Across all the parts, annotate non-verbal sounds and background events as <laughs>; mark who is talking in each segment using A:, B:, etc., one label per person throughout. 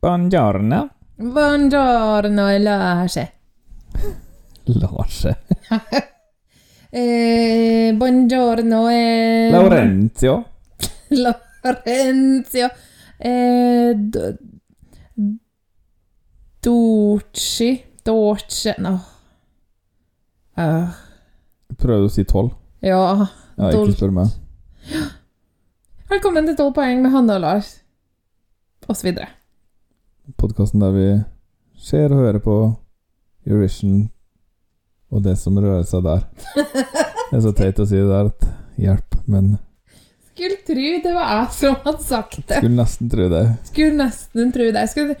A: Buongiorno.
B: Buongiorno, Lars.
A: Lars.
B: Eh, buongiorno, eh, <laughs>
A: Laurenzio.
B: Laurenzio. Eh, d- Ducci. Ducci. No. Eh,
A: Prøvde å si tolv.
B: ja.
A: Ja,
B: Tolv.
A: ikke spør meg.
B: Velkommen til 12 poeng med Hanne og Lars. Og så videre.
A: Podkasten der vi ser og hører på Eurovision og det som rører seg der. Det er så teit å si det der at hjelp, men
B: Skulle tro det var jeg som hadde sagt det.
A: skulle nesten tro det.
B: Skulle nesten tro det. Jeg skulle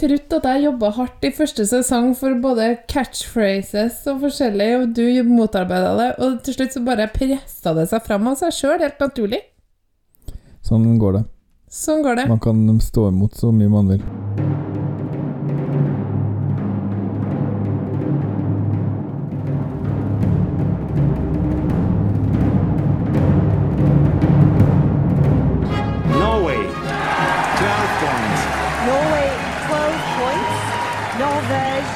B: trodd at jeg jobba hardt i første sesong for både catchphrases og forskjellig, og du motarbeida det, og til slutt så bare pressa det seg fram av seg sjøl, helt naturlig.
A: Sånn går det.
B: Sånn går det.
A: Man kan stå imot så mye man vil.
C: Norway, 12 points.
D: Norway 12 points, Norvège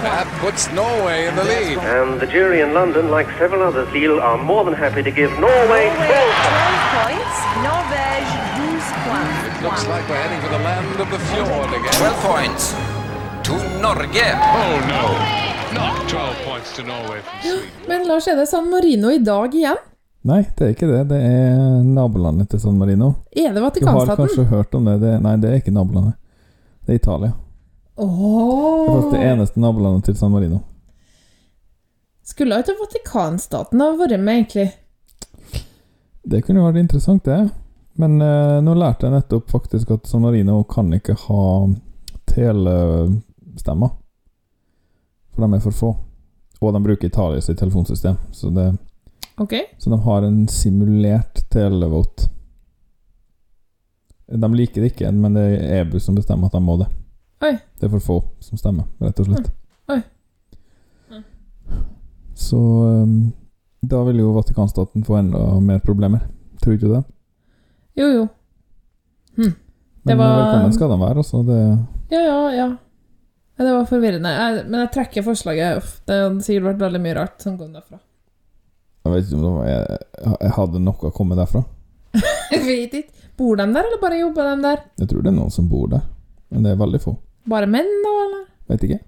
D: 12
E: That puts Norway in the lead.
F: And the jury in London, like several others, Lille, are more than happy to give Norway
D: Norway 12 points, Norvège 12 points.
E: Looks like we're heading for the land of the fjord again.
G: 12 points to Norge.
H: Oh no! Not 12 points to Norway from Sweden.
B: Men Lars, er det San Marino i dag igjen?
A: Nei, det er ikke det. Det er nabolandet til San Marino.
B: Er
A: Du
B: det
A: har
B: Vatikanstaten?
A: kanskje hørt om det. det nei, det er ikke nabolandet. Det er Italia. Det er
B: Åh
A: faktisk det eneste nabolandet til San Marino.
B: Skulle ikke Vatikanstaten ha vært med, egentlig?
A: Det kunne jo vært interessant, det. Men eh, nå lærte jeg nettopp faktisk at San Marino kan ikke ha telestemmer. For de er for få. Og de bruker Italia sitt telefonsystem. Så, det,
B: Ok?
A: så de har en simulert televote. De liker det ikke, men det er EBU som bestemmer at de må det.
B: Oi.
A: Det er for få som stemmer, rett og slett.
B: Oi. Oi.
A: Så eh, da vil jo Vatikanstaten få enda mer problemer. Tror du ikke det?
B: Jo, jo. Det
A: Men eh,
B: var-
A: velkommen skal de være. Også. Det,
B: Ja, ja, ja. Ja, Det var forvirrende. Jeg, men jeg trekker forslaget. Uff, det hadde sikkert vært veldig mye rart som kom derfra.
A: jeg vet ikke om det var, jeg, jeg hadde noe å komme derfra.
B: Jeg vet ikke. Bor de der, eller bare jobber de der?
A: Jeg tror det er noen som bor der, men det er veldig få.
B: Bare menn, da, eller?
A: Vet ikke.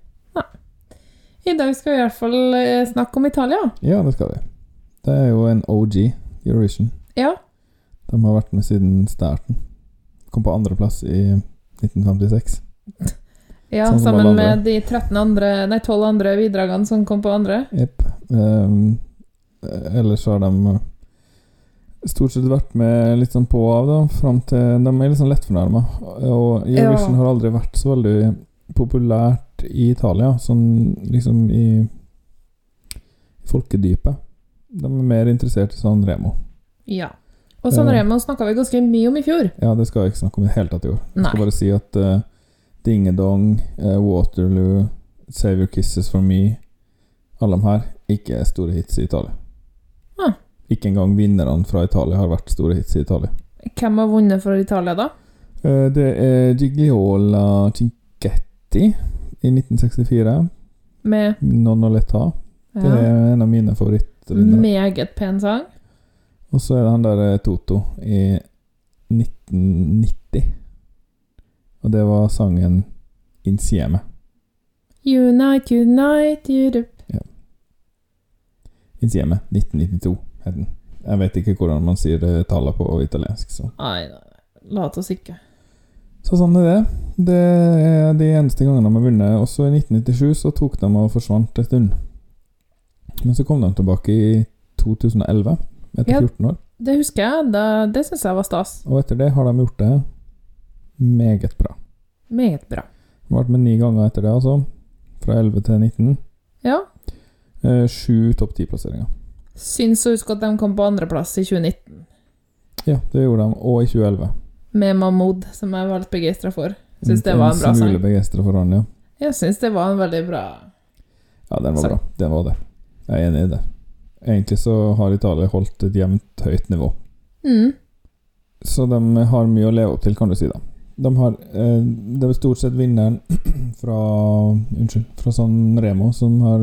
B: I dag skal vi i hvert fall eh, snakke om Italia.
A: Ja, det skal vi. Det er jo en OG, Eurovision.
B: Ja.
A: De har vært med siden starten. Kom på andreplass i 1956.
B: ja
A: Sånn som alle
B: sammen
A: andre.
B: med de 13 andre, nei, 12 andre bidragene som kom på andre.
A: Jepp. Ehm, eh, ellers har de stort sett vært med litt sånn på og av, da, fram til De er litt sånn lettfornærma. Og Eurovision
B: Ja.
A: har aldri vært så veldig populært i Italia, sånn liksom i folkedypet. De er mer interessert i San Remo.
B: Ja. Og San
A: Ja.
B: Remo snakka vi ganske mye om i fjor.
A: Ja, det skal jeg ikke snakke om i det hele tatt i år. Jeg skal
B: Nei.
A: bare si at eh, Dingedong, eh, Waterloo, Save Your Kisses For Me Alle de her ikke er store hits i Italia.
B: Ah.
A: Ikke engang vinnerne fra Italia har vært store hits i Italia.
B: Hvem har vunnet for Italia, da?
A: Eh, det er Gigliola Cinquetti i 1964.
B: Med
A: Nonnoletta. Det
B: ja, Mm.
A: er en av mine favoritter.
B: meget pen sang.
A: Og så er det han der eh, Toto i 1990. Og det var sangen Insieme.
B: Unite, unite, Europe.
A: Insieme 1992 het den. Jeg vet ikke hvordan man sier eh, tallene på italiensk. Så.
B: Nei, nei, nei. lat oss ikke.
A: så sånn er det. Det er de eneste gangene de har vunnet. Også i 1997 så tok de og forsvant en stund. Men så kom de tilbake i 2011, etter
B: Ja.
A: 14 år.
B: Det husker jeg. Da, det syns jeg var stas.
A: Og etter det har de gjort det meget bra.
B: Meget bra.
A: De har vært med ni ganger etter det, altså. Fra 11 til 19.
B: Ja.
A: Eh, Sju topp 10-plasseringer.
B: Syns å huske at de kom på andreplass i 2019,
A: Ja, det gjorde de. Og i 2011.
B: med Mahmoud, som jeg var litt begeistra for. Syns det var en bra
A: smule
B: sang.
A: begeistra for han, ja.
B: Jeg syns det var en veldig bra
A: Ja, den var
B: Sorry.
A: bra. Den var det. Jeg er enig i det. Egentlig så har Italia holdt et jevnt høyt nivå.
B: mm.
A: Så de har mye å leve opp til, kan du si, da. De har eh, Det er stort sett vinneren <clears throat> fra Unnskyld, fra San Remo som har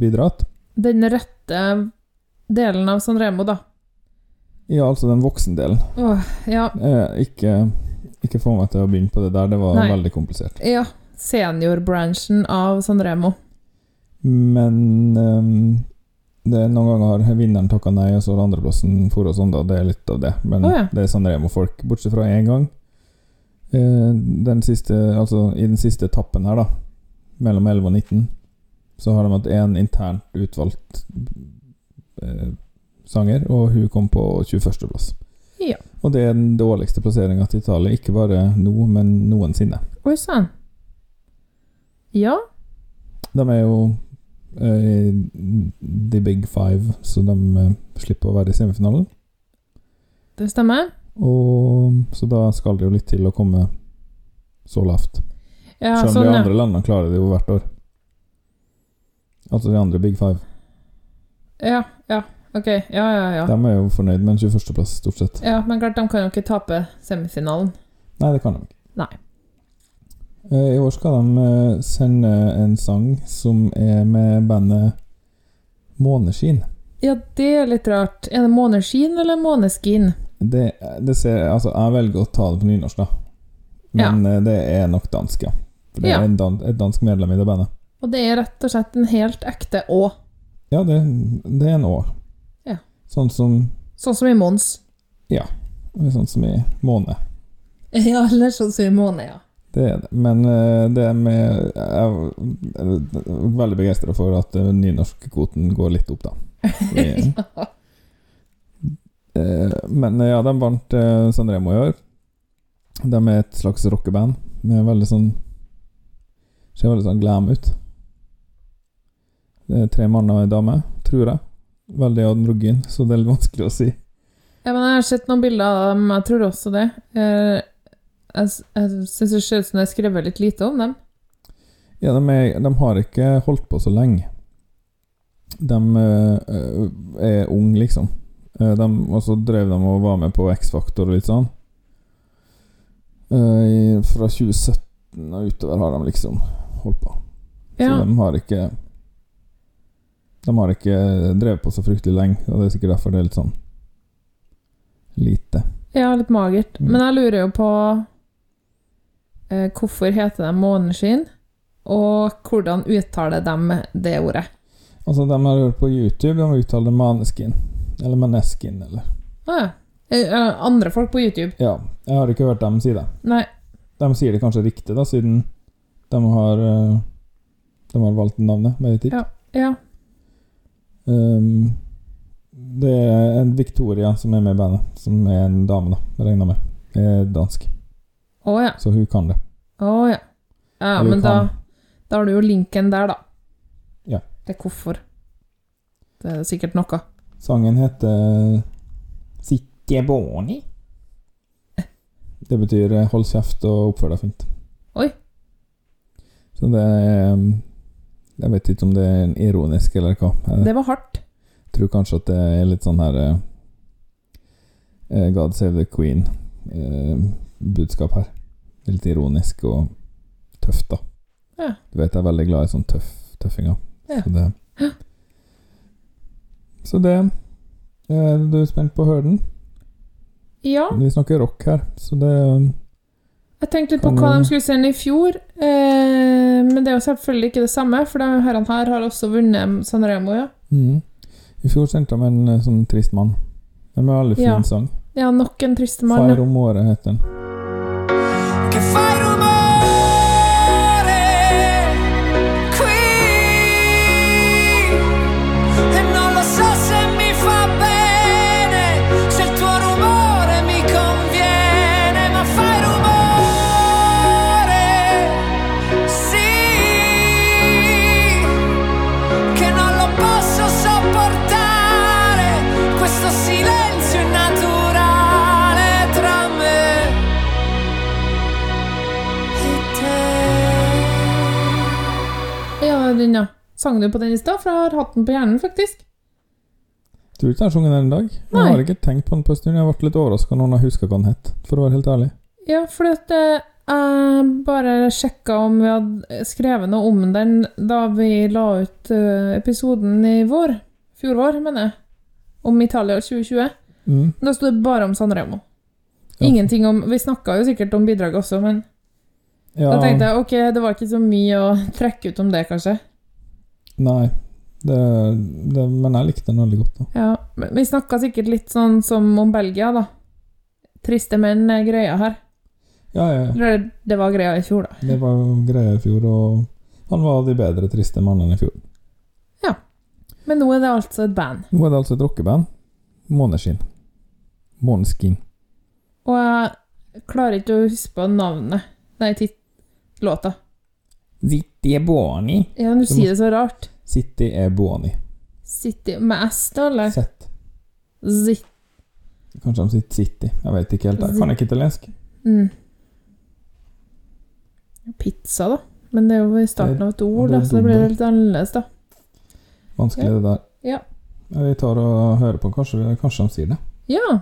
A: bidratt.
B: Den rette delen av San Remo, da.
A: Ja, altså den voksendelen.
B: Åh, ja.
A: Eh, ikke ikke få meg til å begynne på det der, det var
B: Nei.
A: veldig komplisert.
B: ja. Seniorbranchen av San Remo.
A: Men ehm, det, noen ganger har vinneren takka nei, og så har andreplassen for og sånn, da. Det er litt av det. Men
B: Å, ja.
A: det er San Remo-folk, bortsett fra én gang. Eh, den siste, altså i den siste etappen her, da, mellom 11 og 19, så har de hatt én internt utvalgt eh, sanger, og hun kom på 21.-plass.
B: Ja.
A: Og det er den dårligste plasseringa til Italia, ikke bare nå, men noensinne.
B: Oi sann. Ja.
A: De er jo eh, the big five, så de eh, slipper å være i semifinalen.
B: Det stemmer.
A: Og, så da skal det jo litt til å komme så lavt.
B: Ja,
A: Selv om
B: sånn,
A: de
B: ja.
A: andre landene klarer det jo hvert år. Altså de andre big five.
B: ja. Ja, ok. Ja, ja, ja.
A: De er jo fornøyd med en 21.-plass, stort sett.
B: Ja, Men klart, de kan jo ikke tape semifinalen.
A: Nei, det kan de ikke.
B: Nei.
A: Eh, I år skal de eh, sende en sang som er med bandet Måneskin.
B: Ja, det er litt rart. Er det måneskin eller måneskin?
A: Det, det ser, altså, jeg velger å ta det på nynorsk, da. Men eh, det er nok dansk, ja. For det
B: Ja.
A: er en dan et dansk medlem i det bandet.
B: Og det er rett og slett en helt ekte Å.
A: Ja, det, det er en år.
B: Ja.
A: Sånn som
B: Sånn som i Mons.
A: Sånn som i måned.
B: <laughs> Ja, eller sånn som i Måne, ja.
A: Det er det. Men eh, det er med Jeg er veldig begeistra for at eh, nynorskkvoten går litt opp, da.
B: <laughs>
A: Vi- Eh, Men eh, ja, de vant eh, San Remo i år. De er et slags rockeband med veldig sånn Ser veldig sånn glam ut. Det er tre mann og ei dame, tror jeg. Veldig androgyn, så det er litt vanskelig å si.
B: Ja, men jeg har sett noen bilder av dem, jeg tror også det. Eh, Jeg, s- jeg syns det ser ut som det er skrevet litt lite om dem.
A: Ja, de, er, de har ikke holdt på så lenge. De eh, er unge, liksom. Eh, de, og så drev de og var med på X-Faktor og litt sånn. Eh, i, fra 2017 og utover har de liksom holdt på.
B: Ja,
A: Så de har ikke De har ikke drevet på så fryktelig lenge, og det er sikkert derfor det er litt sånn lite.
B: ja litt magert.
A: Mm.
B: Men jeg lurer jo på eh, hvorfor heter de Måneskinn, og hvordan uttaler de det ordet?
A: Altså, de har hørt på YouTube, de uttaler maneskin. Eller maneskin, eller
B: Ah, ja. Eh, eh, Andre folk på YouTube?
A: Ja, jeg har ikke hørt dem si det.
B: Nei.
A: De sier det kanskje riktig, da, siden de har eh, De har valgt navnet, med etikk.
B: Ja.
A: Ehm, det er en Victoria som er med i bandet, som er en dame, da, regner jeg med. Er dansk,
B: Å ja.
A: så hun kan det.
B: Å ja. Ja,
A: Eller
B: men da,
A: kan.
B: da har du jo linken der, da.
A: Ja.
B: Det er hvorfor. Det er sikkert noe.
A: Sangen heter Sitte boni. Det betyr eh, hold kjeft og oppfør deg fint.
B: Oi.
A: Så det er eh, Jeg vet ikke om det er en ironisk eller hva. Jeg
B: Det var hardt.
A: tror kanskje at det er litt sånn her eh, eh, God save the queen eh, budskap her. Litt ironisk og tøft, da.
B: Ja.
A: Du vet jeg er veldig glad i sånn tøff, tøffinger.
B: Ja.
A: Så det Så det eh, Du er spent på å høre den?
B: Ja.
A: Vi snakker rock her, så det eh,
B: Jeg tenkte litt på
A: Kan
B: hva
A: man-
B: de skulle sende i fjor, eh, men det er jo selvfølgelig ikke det samme, for de herrene her har også vunnet San Remo, ja.
A: mm. I fjor sendte de en eh, sånn trist mann. En veldig fin
B: Ja.
A: sang.
B: Ja, nok en trist mann.
A: Feir
B: ja.
A: om året heter den.
D: Che fai rumore qui E non lo so se mi fa bene Se il tuo rumore mi conviene Ma fai rumore Sì Che non lo posso sopportare Questo silenzio innaturale tra me
B: Ja, den, ja. Sang du på den i stad, for jeg har hatt den på hjernen, faktisk.
A: Tror ikke jeg har sunget den en dag.
B: Nei.
A: Jeg har ikke tenkt på den på en stund. Jeg ble litt overraska når jeg huska hva den het, for å være helt ærlig.
B: Ja, fordi at eh, jeg bare sjekka om vi hadde skrevet noe om den da vi la ut eh, episoden i vår. Fjor vår, mener jeg. Om Italia 2020.
A: Mm.
B: Da sto det bare om Sanremo.
A: Ja.
B: Ingenting om Vi snakka jo sikkert om bidraget også, men
A: Ja,
B: da tenkte jeg ok, det var ikke så mye å trekke ut om det, kanskje.
A: Nei. Det, det, men jeg likte den veldig godt. da.
B: Ja, men Vi snakka sikkert litt sånn som om Belgia, da. Triste menn er greia her.
A: Ja, ja, ja.
B: Eller det var greia i fjor, da.
A: Det var jo greia i fjor, og han var av de bedre triste mannene i fjor.
B: Men nå er det altså et band.
A: Nå er det altså et rockeband. Måneskinn. Måneskin.
B: Og jeg klarer ikke å huske på navnet. Nei, titt... låta.
A: Zitti e buoni.
B: Ja, nå sier det så rart.
A: Zitti e buoni.
B: City med S, da, eller?
A: Sett.
B: Zit...
A: Kanskje de sier City. Jeg vet ikke helt. Jeg kan ikke italiensk.
B: Mm. Pizza, da. Men det er jo i starten av et ord, da, så det blir litt annerledes, da.
A: Vanskelig, det der.
B: Ja.
A: Vi tar og hører på. Kanskje, kanskje de sier det.
B: Ja.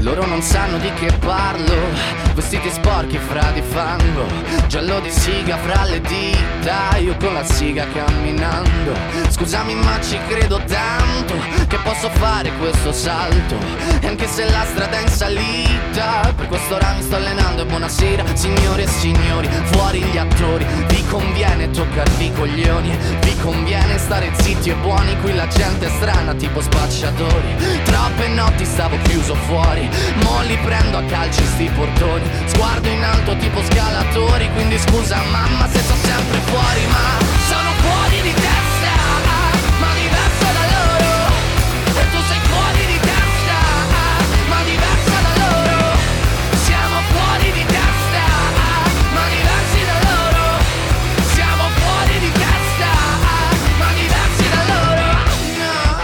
I: Loro non sanno di che parlo Vestiti sporchi fra di fango Giallo di siga fra le dita Io con la siga camminando Scusami ma ci credo tanto Che posso fare questo salto E anche se la strada è in salita Per questo ramo sto allenando E buonasera signore e signori Fuori gli attori Vi conviene toccarvi i coglioni Vi conviene stare zitti e buoni Qui la gente è strana tipo spacciatori Troppe notti stavo chiuso fuori Mo li prendo a calci sti portoni Sguardo in alto tipo scalatori Quindi scusa mamma se sono sempre fuori Ma sono fuori di testa Ma diverso da loro E tu sei fuori di testa Ma diversa da loro Siamo fuori di testa Ma diversi da loro Siamo fuori di testa Ma diversi da loro No.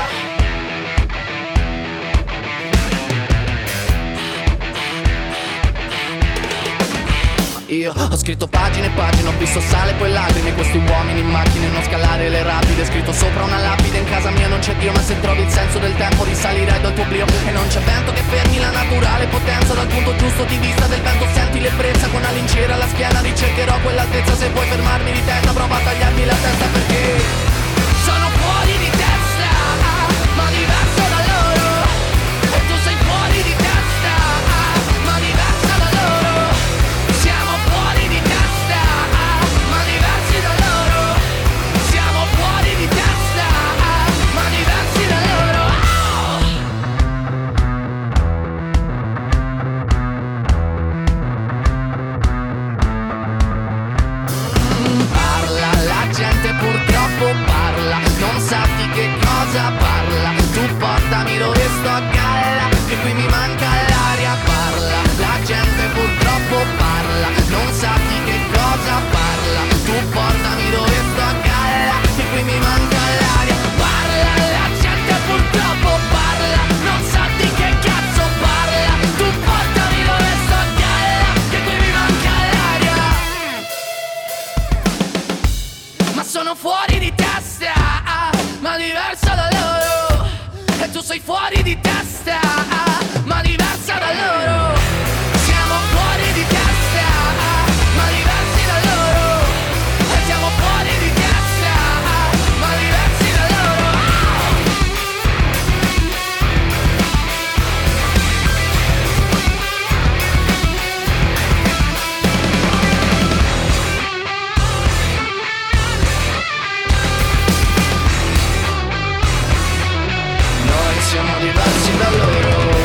I: Io ho scritto pagine e pagine, ho visto sale e poi lacrime Questi uomini in macchine, non scalare le rapide Scritto sopra una lapide, in casa mia non c'è Dio Ma se trovi il senso del tempo risalirai dal tuo oblio E non c'è vento che fermi la naturale potenza Dal punto giusto di vista del vento senti l'ebbrezza Con la lincera alla schiena ricercherò quell'altezza Se vuoi fermarmi di testa prova a tagliarmi la testa perché sono fuori di testa, ma diverso da loro E tu sei fuori di testa, ma diverso da loro Siamo fuori di testa, ma diversi da loro Siamo fuori di testa, ma diversi da loro Parla, la gente purtroppo parla, non sa di che cosa parla. Tu portami dove sto a galla, che qui mi manca l'aria. Parla, la gente purtroppo parla, non sa di che cosa parla. Tu portami dove sto a galla, che qui mi manca l'aria. Parla, la gente purtroppo parla, non sa di che cazzo parla. Tu portami dove sto a galla, che qui mi manca l'aria. Ma sono fuori di testa, ma diversa da loro E tu sei fuori di testa, ma diversa da loro Siamo fuori di testa, ma diversi da loro E siamo fuori di testa, ma diversi da loro Noi siamo diversi da loro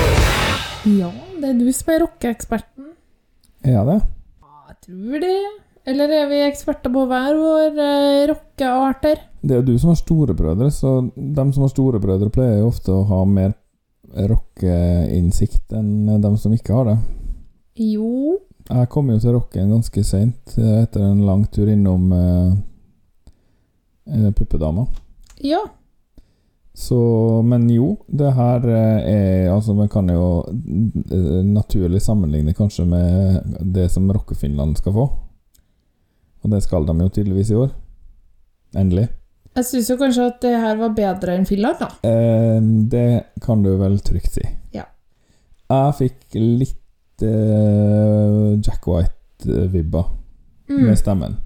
B: ja, det er du som er rockeeksperten.
A: Er det?
B: Ja, Jeg tror det. Eller er vi eksperter på hver vår eh, rockearter?
A: Det er jo du som har storebrødre, så dem som har storebrødre, pleier jo ofte å ha mer rockeinnsikt enn dem som ikke har det.
B: Jo
A: Jeg kom jo til rocken ganske seint, etter en lang tur innom eh, eh, puppedama.
B: Ja.
A: Så, men jo, det her eh, er Altså, man kan jo eh, naturlig sammenligne kanskje med det som Rockefinland skal få. Og det skal de jo tydeligvis i år. Endelig.
B: Jeg syns jo kanskje at det her var bedre enn Finland, da.
A: Eh, det kan du vel trygt si.
B: Ja.
A: Jeg fikk litt eh, Jack White-vibba
B: Mm.
A: med stemmen.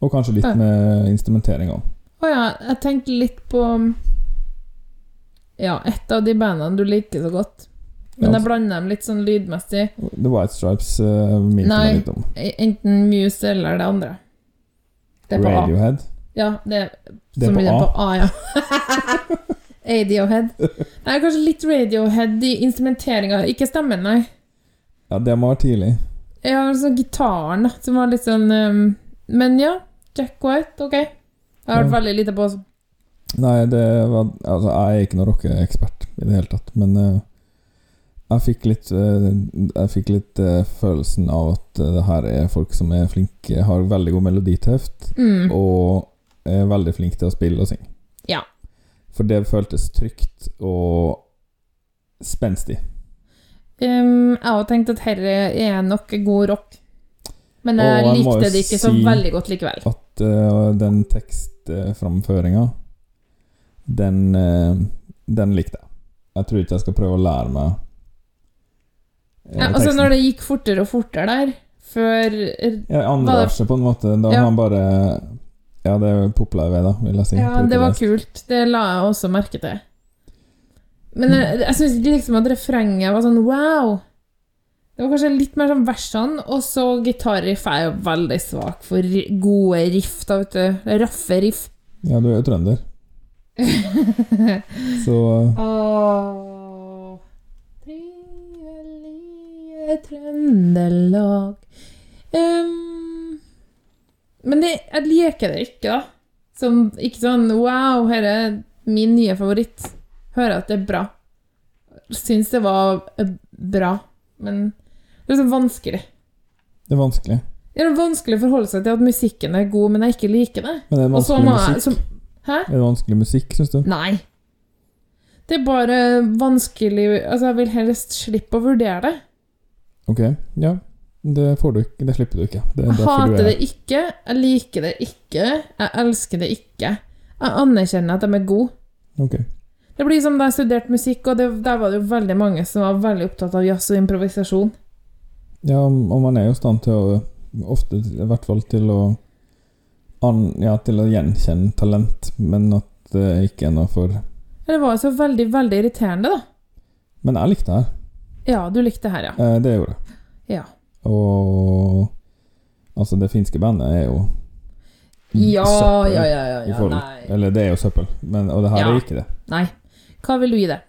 A: Og kanskje litt
B: Ja.
A: med instrumenteringa.
B: Å ja, jeg tenkte litt på Ja, et av de bandene du liker så godt. Men
A: Ja,
B: jeg blander dem litt sånn lydmessig.
A: The White Stripes uh, minte
B: Nei.
A: meg litt om.
B: Enten Muse eller det andre. Det er på A.
A: Radiohead.
B: Ja, det,
A: Det er
B: som
A: på
B: er
A: A.
B: på A, ja. <laughs> Radiohead. Nei, kanskje litt Radiohead i instrumenteringa. Ikke stemmen, nei.
A: Ja, det må være tidlig.
B: Ja, altså gitaren, da, som var litt sånn ehm, Men ja, Jack White, ok. Jeg har hørt
A: Ja.
B: veldig lite på også.
A: Nei, det var Altså, jeg er ikke noen rockeekspert i det hele tatt, men eh, jeg fikk litt eh, Jeg fikk litt eh, følelsen av at eh, det her er folk som er flinke, har veldig god meloditeft,
B: Mm.
A: og er veldig flinke til å spille og synge.
B: Ja.
A: For det føltes trygt og spenstig.
B: Ehm, jeg har tenkt at herre er nok god rock. Men jeg
A: Og jeg må jo
B: likte det ikke så
A: si-
B: veldig godt likevel.
A: At eh, den tekstframføringa, den, eh, den likte jeg. Jeg tror ikke jeg skal prøve å lære meg eh,
B: Ja, altså, når det gikk fortere og fortere der, før
A: Ja, andre
B: Var det-
A: verset, på en måte. Da
B: Ja.
A: har han bare Ja, det popla i vei, da, vil jeg si.
B: Ja,
A: Tror
B: det
A: ikke
B: var
A: det.
B: kult. Det la jeg også merke til. Men jeg, jeg syns liksom at refrenget var sånn wow. Det var kanskje litt mer sånn versene, og så gitarriff er jo veldig svak for ri- gode riff, da, vet du. Raffe riff.
A: Ja, du er jo
B: <laughs>
A: trønder. Så eh,
B: Åh, trivelige Trøndelag Ehm, Men det, jeg liker det ikke, da. Som, ikke sånn 'wow, her er min nye favoritt'. Hører at det er bra. Syns det var eh, bra, men det er så vanskelig.
A: det er vanskelig.
B: Det er vanskelig å forholde seg til at musikken er god, men jeg ikke liker det.
A: Men det er
B: Og så
A: vanskelig
B: må jeg-
A: musikk.
B: så- Hæ?
A: Er det vanskelig musikk, syns du?
B: Nei. Det er bare vanskelig Altså, jeg vil helst slippe å vurdere det.
A: Ok, ja. Det får du ikke. Det slipper du ikke. Det er
B: Jeg
A: derfor du
B: hater
A: er
B: det ikke, jeg liker det ikke, jeg elsker det ikke. Jeg anerkjenner at de er gode.
A: Ok.
B: Det blir som da jeg studerte musikk, og det, der var det jo veldig mange som var veldig opptatt av jazz og improvisasjon.
A: Ja, og man er jo i stand til å Ofte, i hvert fall, til å an, Ja, til å gjenkjenne talent, men at det ikke er noe for
B: Men Det var jo så veldig, veldig irriterende, da.
A: Men jeg likte det her.
B: Ja, du likte det her, ja.
A: Eh, det gjorde jeg.
B: Ja.
A: Og Altså, det finske bandet er jo
B: Ja,
A: søppel
B: ja, ja, ja,
A: Mm, i
B: ja
A: forhold-
B: nei.
A: Eller, det er jo søppel, men, og det her
B: Ja.
A: er ikke det.
B: nei. Hva vil du gi det?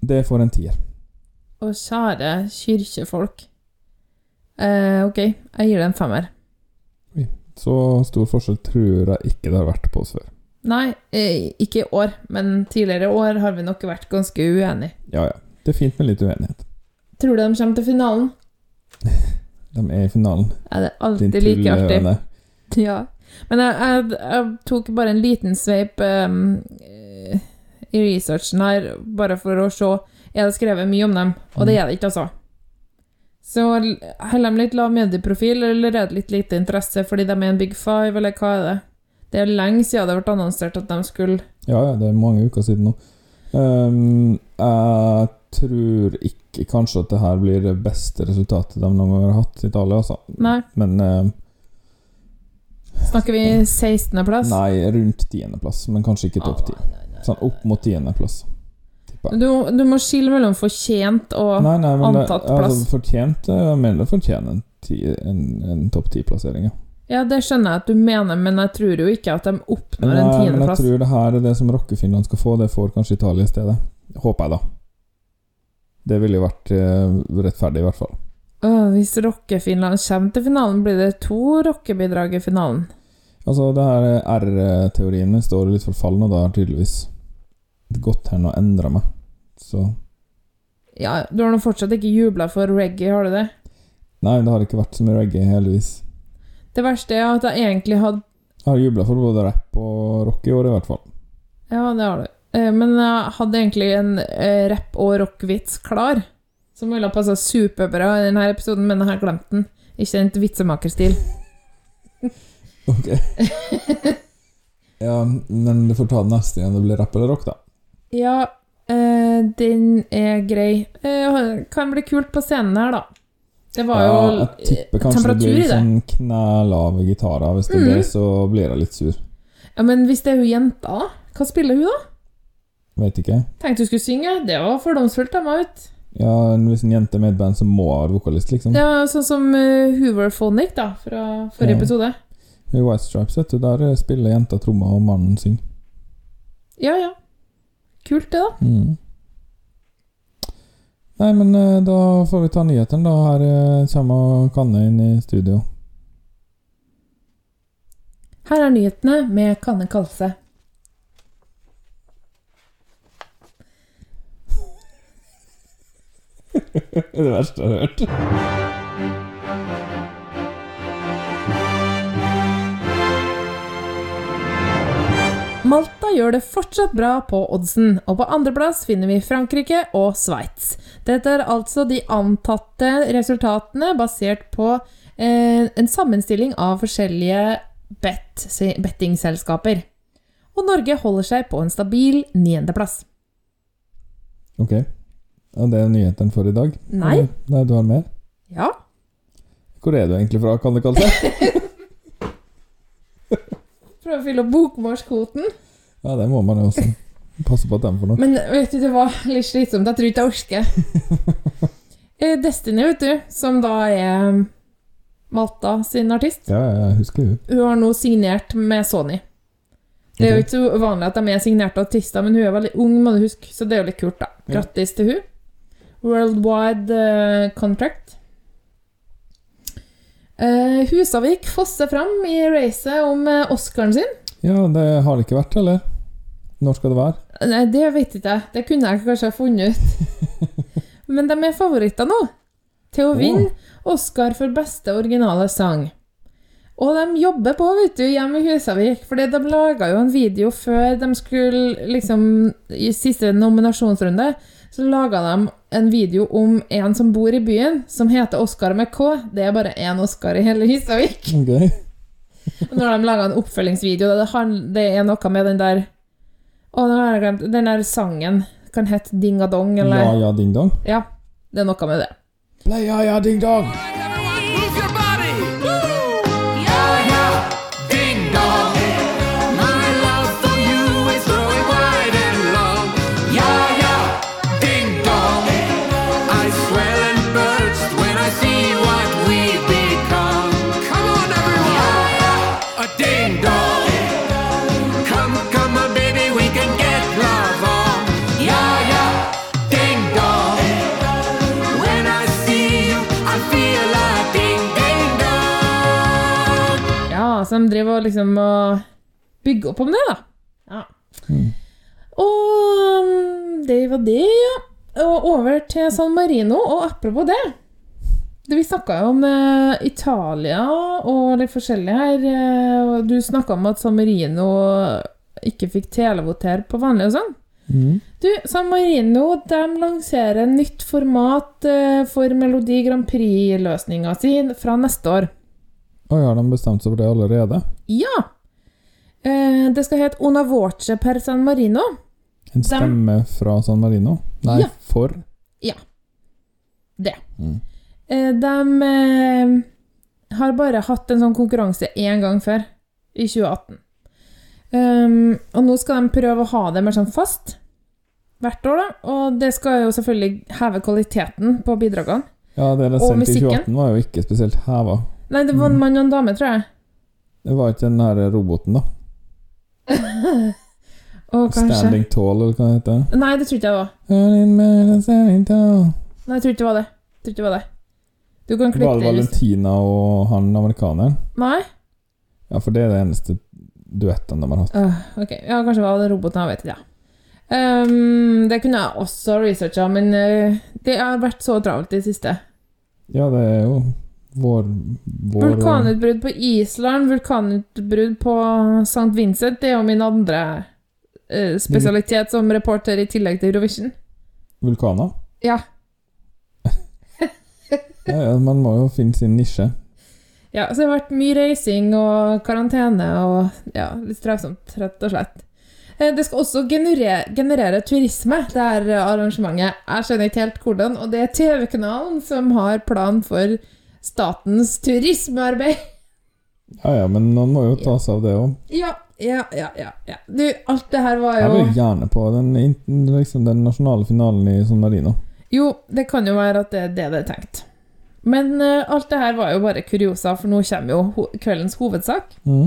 A: Det får en tier.
B: Å, kjære kirkefolk. Eh, ok, jeg gir det en femmer.
A: Så stor forskjell tror jeg ikke det har vært på oss før.
B: Nei, eh, ikke i år, men tidligere år har vi nok vært ganske uenige.
A: Ja, ja. Det er fint med litt uenighet.
B: Tror du de kommer til finalen?
A: De er i finalen.
B: Er det
A: Din
B: alltid like artig?
A: tulleøne.
B: <laughs> Ja. Men jeg, jeg, jeg tok bare en liten sveip ehm, eh, i researchen her, bare for å se. Jeg har skrevet mye om dem, og det er det ikke, altså. Så l- holder de litt lav medieprofil, eller er det litt lite interesse fordi de er en big five, eller hva er det? Det er lenge siden det ble annonsert at de skulle
A: Ja, ja, det er mange uker siden nå. Ehm, jeg tror ikke kanskje at det her blir det beste resultatet de noen gang har hatt i Italia, altså.
B: Nei,
A: Men ehm,
B: snakker vi 16.-plass?
A: nei, rundt tiendeplass, men kanskje ikke topp ti.
B: Nei, nei, nei.
A: Sånn opp mot tiendeplass, tipper jeg.
B: Du, du må skille mellom fortjent og
A: Nei, nei, men det,
B: antatt
A: altså,
B: plass.
A: fortjent eh, Jeg mener det fortjener en, ti- en, en topp ti-plassering, ja.
B: Ja, det skjønner jeg at du mener, men jeg tror jo ikke at de oppnår en
A: Nei, Eh, men jeg
B: tiendeplass.
A: tror det her er det som Rockefinland skal få. Det får kanskje Italia i stedet. Håper jeg, da. Det ville jo vært eh, rettferdig, i hvert fall.
B: Åh, hvis rockefinland kommer til finalen, blir det to rockebidrag i finalen.
A: Altså, det her eh, R-teorien min står litt for fall nå, da har tydeligvis gått hen og endra meg. Så
B: Ja, du har nå fortsatt ikke jubla for reggae, har du det?
A: Nei, det har ikke vært så mye reggae, heldigvis.
B: Det verste er at jeg egentlig hadde
A: Jeg har jubla for både rapp og rock i år, i hvert fall.
B: Ja, det har du. Eh, Men jeg hadde egentlig en eh, rapp- og rockvits klar, som ville ha passa superbra i denne episoden, men jeg har glemt den. Ikke kjent vitsemakerstil. <laughs>
A: Ok. Ja, men du får ta den neste igjen. Det blir rapp eller rock, da.
B: Ja, eh, den er grei. Eh, kan bli kult på scenen her, da. Det var
A: Ja,
B: jo
A: jeg tipper
B: eh,
A: kanskje det
B: temperatur
A: blir
B: i
A: litt
B: det. Mhm.
A: sånn knælave gitarer. Hvis det er det, så blir jeg litt sur.
B: Ja, men hvis det er hun jenta, da? Hva spiller hun, da?
A: Vet ikke.
B: Tenkte hun skulle synge. Det var fordomsfullt av meg, vet du.
A: Ja, Hvis en jente er med i et band, så må hun være vokalist, liksom.
B: Det var sånn som eh, Hoover Phonic, da, fra forrige
A: Ja.
B: episode.
A: I White Stripes, vet du, der eh, spiller jenta trommer, og mannen synger.
B: Ja, ja. Kult, det, da.
A: Mm. Nei, men eh, da får vi ta nyhetene, da. Her eh, kommer Kanne inn i studio.
B: Her er nyhetene med Kanne Kalse.
A: Det er det verste jeg har hørt.
B: Malta gjør det fortsatt bra på oddsen, og på andreplass finner vi Frankrike og Sveits. Dette er altså de antatte resultatene basert på eh, en sammenstilling av forskjellige bet, bettingselskaper. Og Norge holder seg på en stabil niendeplass.
A: Ok. Og det er nyhetene for i dag?
B: Nei.
A: Eller? Nei, du har mer?
B: Ja,
A: Hvor er du egentlig fra, kan det kalle seg?
B: <laughs> prøve å fylle opp bokmålskvoten.
A: Ja, det må man jo også. Passe på at de får nok.
B: Men vet du, det var litt slitsomt. Jeg tror ikke jeg orker. Eh, Destiny, vet du, som da er Malta sin artist,
A: Ja, ja, jeg husker jo.
B: hun har nå signert med Sony. Det er jo ikke så vanlig at de er signerte artister, men hun er veldig ung, må du huske, så det er jo litt kult, da.
A: Ja.
B: Grattis til hun. Worldwide eh, contract. Eh, Husavik fosser fram i racet om eh, Oscaren sin.
A: Ja, det har det ikke vært, eller? Når skal det være?
B: Nei, det vet ikke jeg. Det kunne jeg kanskje ha funnet ut. Men de er favoritter nå til å
A: Åh.
B: vinne Oscar for beste originale sang. Og de jobber på, vet du, hjemme i Husavik. Fordi de laga jo en video før de skulle liksom I siste nominasjonsrunde så laga de en video om en som bor i byen, som heter Oscar med K. Det er bare én Oscar i hele Husavik.
A: Ok.
B: Når de laga en oppfølgingsvideo det, han- det er noe med den der Å, nå har jeg glemt Den der sangen kan hete Dingadong, eller
A: Ja,
B: ja,
A: ja, ding dong.
B: det er noe med det.
A: Play, ja, ja, ding dong!
D: Ding dong, come, come on, baby, we can get love on. Yeah, yeah, ding dong. When I see you, I feel like ding, ding dong.
B: Ja, så de driver og liksom og bygger opp om det, da. Ja. Og mm, det var det, ja. Og over til San Marino, og apropos det det- Vi snakka jo om eh, Italia og litt forskjellig her. eh, og du snakka om at San Marino ikke fikk televotere på vanlig og sånn.
A: Mhm.
B: Du, San Marino de lanserer nytt format eh, for Melodi Grand Prix-løsninga si fra neste år.
A: Oi, har de bestemt seg for det allerede?
B: Ja! Eh, det skal hete Una voce per San Marino.
A: En stemme fra San Marino? Nei,
B: Ja.
A: for?
B: Det.
A: Mm.
B: Eh, de eh, har bare hatt en sånn konkurranse én gang før, i 2018. Um, og nå skal de prøve å ha det mer sånn fast hvert år, da. Og det skal jo selvfølgelig heve kvaliteten på bidragene.
A: Ja, det de
B: Og
A: sendte i
B: musikken.
A: 2018 var jo ikke spesielt heva.
B: Nei, det
A: Mm.
B: var en mann og en dame, tror jeg.
A: Det var ikke den her roboten, da.
B: Og kanskje
A: Standing Tall, eller hva det heter.
B: Nei, det tror ikke jeg det var.
A: Standing man and standing tall.
B: Nei, jeg tror ikke det var det. Jeg tror ikke det var det. Du kan klippe
A: Var det
B: det. hvis-
A: Valentina og han amerikaneren?
B: Nei?
A: Ja, for det er det eneste duetten de har hatt.
B: Øh, ok, ja, kanskje det var den roboten, jeg vet ikke. Ja. Ehm, det kunne jeg også researcha, men øh, det har vært så travelt i det siste.
A: Ja, det er jo vår, vår
B: Vulkanutbrudd på Island, vulkanutbrudd på St. Vincent, det er jo min andre øh, spesialitet som reporter i tillegg til Eurovision.
A: Vulkaner. <laughs>
B: Ja.
A: Ja, ja, man må jo finne sin nisje.
B: Ja, så det har vært mye reising og karantene og ja, litt strevsomt, rett og slett. Eh, Det skal også generere, generere turisme, det her arrangementet. Jeg skjønner ikke helt hvordan, og det er TV-kanalen som har plan for statens turismearbeid. <laughs>
A: Ja ja, men noen må jo ta seg av det òg.
B: Ja, ja, ja, ja. ja. Du, alt det her var
A: Jeg
B: jo
A: vil gjerne på den, in- liksom, den nasjonale finalen i San Marino.
B: Jo, det kan jo være at det er det det er tenkt. Men eh, alt det her var jo bare kuriosa, for nå kommer jo ho kveldens hovedsak.
A: Mhm.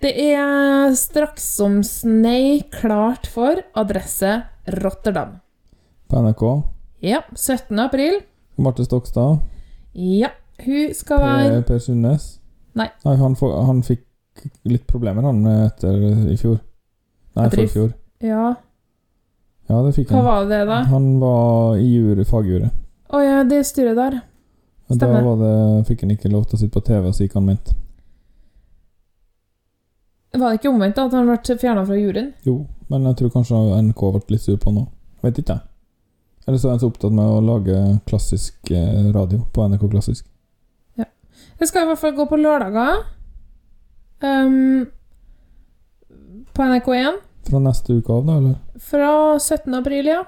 B: Det er straks som snei klart for adresse Rotterdam.
A: På NRK.
B: Ja, 17. april.
A: Marte Stokstad.
B: Ja, hun skal være
A: Per, per Sundnes.
B: Nei.
A: han, får, han fikk litt problemer, han, etter i fjor. Nei,
B: Etter
A: for
B: i
A: i fjor.
B: Ja,
A: Ja, det fikk
B: hva
A: han.
B: var det da?
A: Han var i jury, fagjury.
B: Å ja, det styret der.
A: Og Da
B: Stemmer.
A: var det, fikk han ikke lov til å sitte på TV og si hva han mente.
B: Var det ikke omvendt da, at han ble fjerna fra juryen?
A: Jo, men jeg tror kanskje NRK ble litt sur på han nå. Vet ikke, jeg. Eller så er han så opptatt med å lage klassisk eh, radio på NRK Klassisk.
B: Det skal i hvert fall gå på lørdager. Ehm, på NRK1.
A: Fra neste uke av, da, eller?
B: Fra 17. april, ja.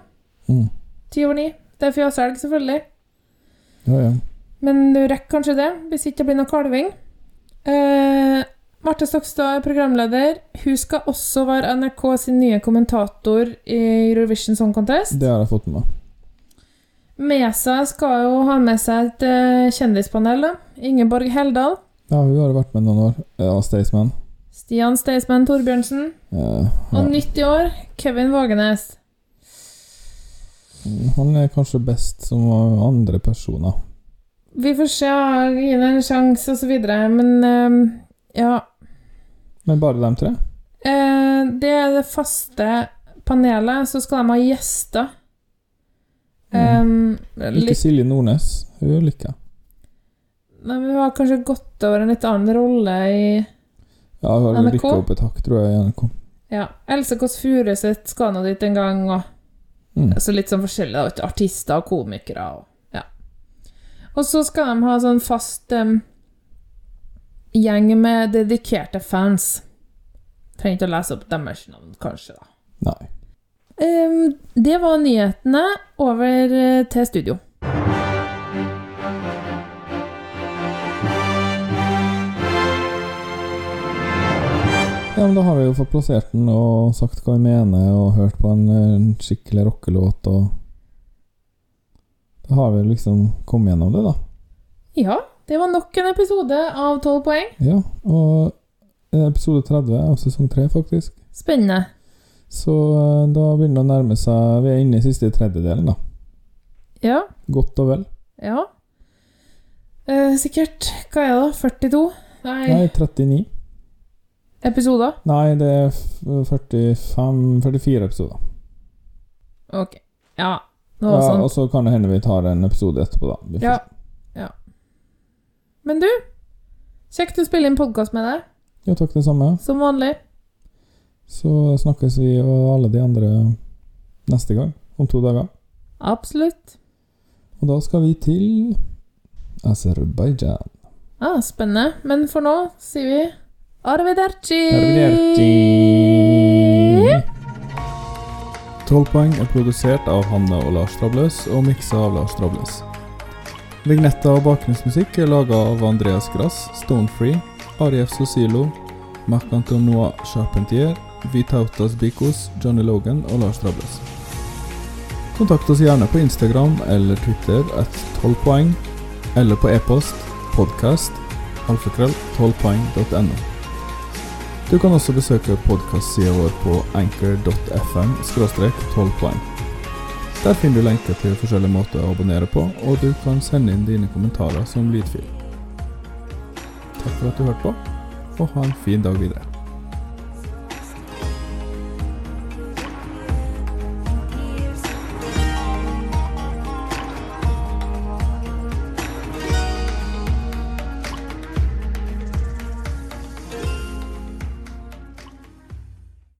A: Mm.
B: Ti over ni. Det er fjøshelg, selvfølgelig.
A: Ja, ja.
B: Men du rekker kanskje det, hvis ikke det blir noe kalving. Eh, Marte Stokstad er programleder. Hun skal også være NRK sin nye kommentator i Eurovision Song Contest.
A: Det har jeg fått med meg.
B: Med seg skal jo ha med seg et eh, kjendispanel. da. Ingeborg Heldal,
A: Ja, hun har vært med noen år. Ja, Staysman.
B: Stian Staysman Torbjørnsen
A: Eh,
B: og
A: ja.
B: nytt i år Kevin Vågenes.
A: Han er kanskje best som andre personer.
B: Vi får se, gi det en sjanse osv., men eh, ja
A: Men bare de tre?
B: Eh, det er det faste panelet, så skal de ha gjester. Um,
A: Ikke
B: litt,
A: Silje Nordnes. Hun liker jeg.
B: nei, men vi har kanskje gått over en litt annen rolle i
A: Ja, hun har
B: NRK?
A: rykka opp et hakk, tror jeg, i NRK.
B: ja, Else Kåss Furuseth skal nå dit en gang. Og,
A: Mm.
B: Så litt sånn forskjellig. da, Artister og komikere. Og, ja. og så skal de ha sånn fast em, gjeng med dedikerte fans. Trenger ikke å lese opp deres navn, kanskje. da.
A: Nei.
B: Em, Ehm, det var nyhetene. Over eh, til studio.
A: Ja, men da har vi jo fått plassert den og sagt hva vi mener, og hørt på en, eh, en skikkelig rockelåt, og Da har vi liksom kommet gjennom det, da.
B: Ja, det var nok en episode av 12 poeng.
A: Ja, og eh, episode 30 av sesong 3, faktisk.
B: Spennende.
A: Så eh, da begynner det å nærme seg Vi er inne i siste tredjedelen, da.
B: Ja,
A: Godt og vel.
B: ja. Eh, sikkert. Hva er det, da? 42? Nei,
A: Nei, 39.
B: episoder?
A: Nei, det er f- 45 44 episoder.
B: Ok. Ja, det var
A: Ja, altså.
B: sånn.
A: og så kan det hende vi tar en episode etterpå, da. Vi får
B: Ja. ja. Men du, kjekt å spille inn podkast med deg,
A: se. ja, takk, det samme.
B: som vanlig.
A: Så snakkes vi og alle de andre neste gang, om to dager.
B: Absolutt.
A: Og da skal vi til Aserbajdsjan.
B: Ah, spennende. Men for nå sier vi arrivederci!
A: Arrivederci! 12 poeng er produsert av Hanne og Lars Trabløs og miksa av Lars Trabløs. Vignetta og bakgrunnsmusikk er laga av Andreas Grass, Stonefree, Arief Sosilo, Marc-Antonois Charpentier, Vitautas Bikos, Johnny Logan og Lars Trabløs. Kontakt oss gjerne på Instagram eller Twitter at 12 poeng, eller på e-post podcast alfakrøll 12poeng.no. Du kan også besøke podkastsida vår på anchor.fm 12 poeng. Der finner du lenker til forskjellige måter å abonnere på, og du kan sende inn dine kommentarer som lydfil. Takk for at du hørte på, og ha en fin dag videre.